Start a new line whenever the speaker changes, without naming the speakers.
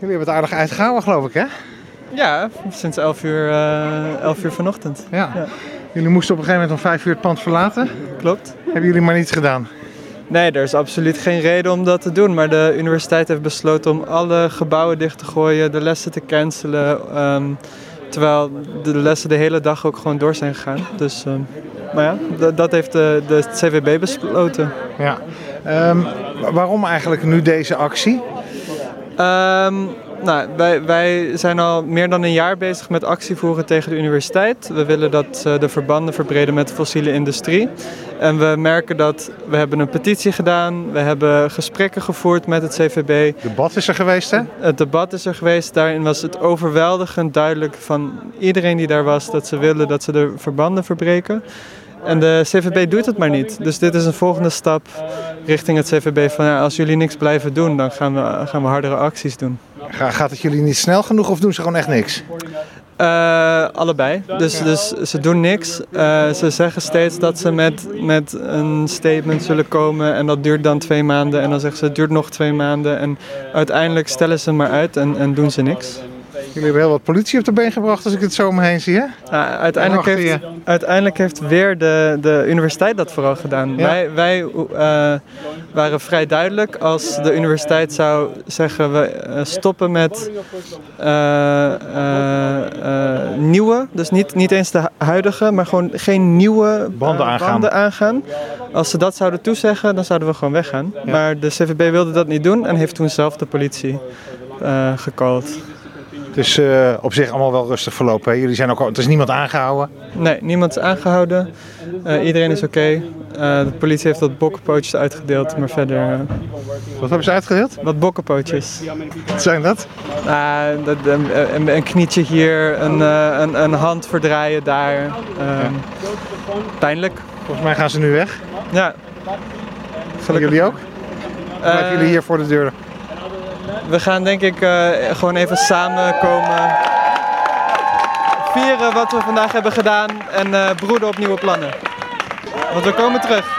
Jullie hebben het aardig uitgehouden, geloof ik, hè?
Ja, sinds 11 uur, eh 11 uur vanochtend.
Ja. Jullie moesten op een gegeven moment om vijf uur het pand verlaten.
Klopt.
Hebben jullie maar niets gedaan.
Nee, er is absoluut geen reden om dat te doen. Maar de universiteit heeft besloten om alle gebouwen dicht te gooien, de lessen te cancelen. ehm, terwijl de lessen de hele dag ook gewoon door zijn gegaan. Dus, ehm, maar ja, d- dat heeft de, de CVB besloten.
Ja. Ehm, wa- waarom eigenlijk nu deze actie?
Ehm, nou, wij, wij zijn al meer dan een jaar bezig met actievoeren tegen de universiteit. We willen dat eh, de verbanden verbreden met de fossiele industrie. En we merken dat we hebben een petitie gedaan, we hebben gesprekken gevoerd met het CVB.
Debat is er geweest, hè?
Het debat is er geweest, daarin was het overweldigend duidelijk van iedereen die daar was dat ze willen dat ze de verbanden verbreken. En de CVB doet het maar niet. Dus dit is een volgende stap richting het CVB van ja, als jullie niks blijven doen, dan gaan we, gaan we hardere acties doen.
Ga- gaat het jullie niet snel genoeg of doen ze gewoon echt niks?
Eh, allebei. Dus, dus ze doen niks. Eh, ze zeggen steeds dat ze met, met een statement zullen komen. En dat duurt dan twee maanden. En dan zeggen ze het duurt nog twee maanden. En uiteindelijk stellen ze maar uit en, en doen ze niks.
Jullie hebben heel wat politie op de been gebracht, als ik het zo om me heen zie, hè?
Nou, uiteindelijk,
En achter
heeft, uiteindelijk heeft weer de, de universiteit dat vooral gedaan.
Ja.
Wij, wij eh, waren vrij duidelijk als de universiteit zou zeggen we eh, stoppen met eh, eh, eh, nieuwe, dus niet, niet eens de hu- huidige, maar gewoon geen nieuwe eh,
Banden aangaan.
banden aangaan. Als ze dat zouden toezeggen, dan zouden we gewoon weggaan.
Ja.
Maar de CVB wilde dat niet doen en heeft toen zelf de politie eh gecalled.
Dus eh, op zich allemaal wel rustig verlopen, hè? Jullie zijn ook al... Er is niemand aangehouden.
Nee, niemand is aangehouden. Eh, iedereen is oké. Eh, de politie heeft wat bokkenpootjes uitgedeeld, maar verder eh,
Wat hebben ze uitgedeeld?
wat bokkenpootjes.
Wat zijn dat?
Ah, dat, een, een- een knietje hier, een, eh, een, een hand verdraaien daar. Ehm, Pijnlijk.
Volgens mij gaan ze nu weg.
Ja. Gelukkig.
Jullie ook? Blijven
Eh,
jullie hier voor de deur?
We gaan denk ik eh, gewoon even samenkomen. Vieren wat we vandaag hebben gedaan en eh broeden op nieuwe plannen. Want we komen terug.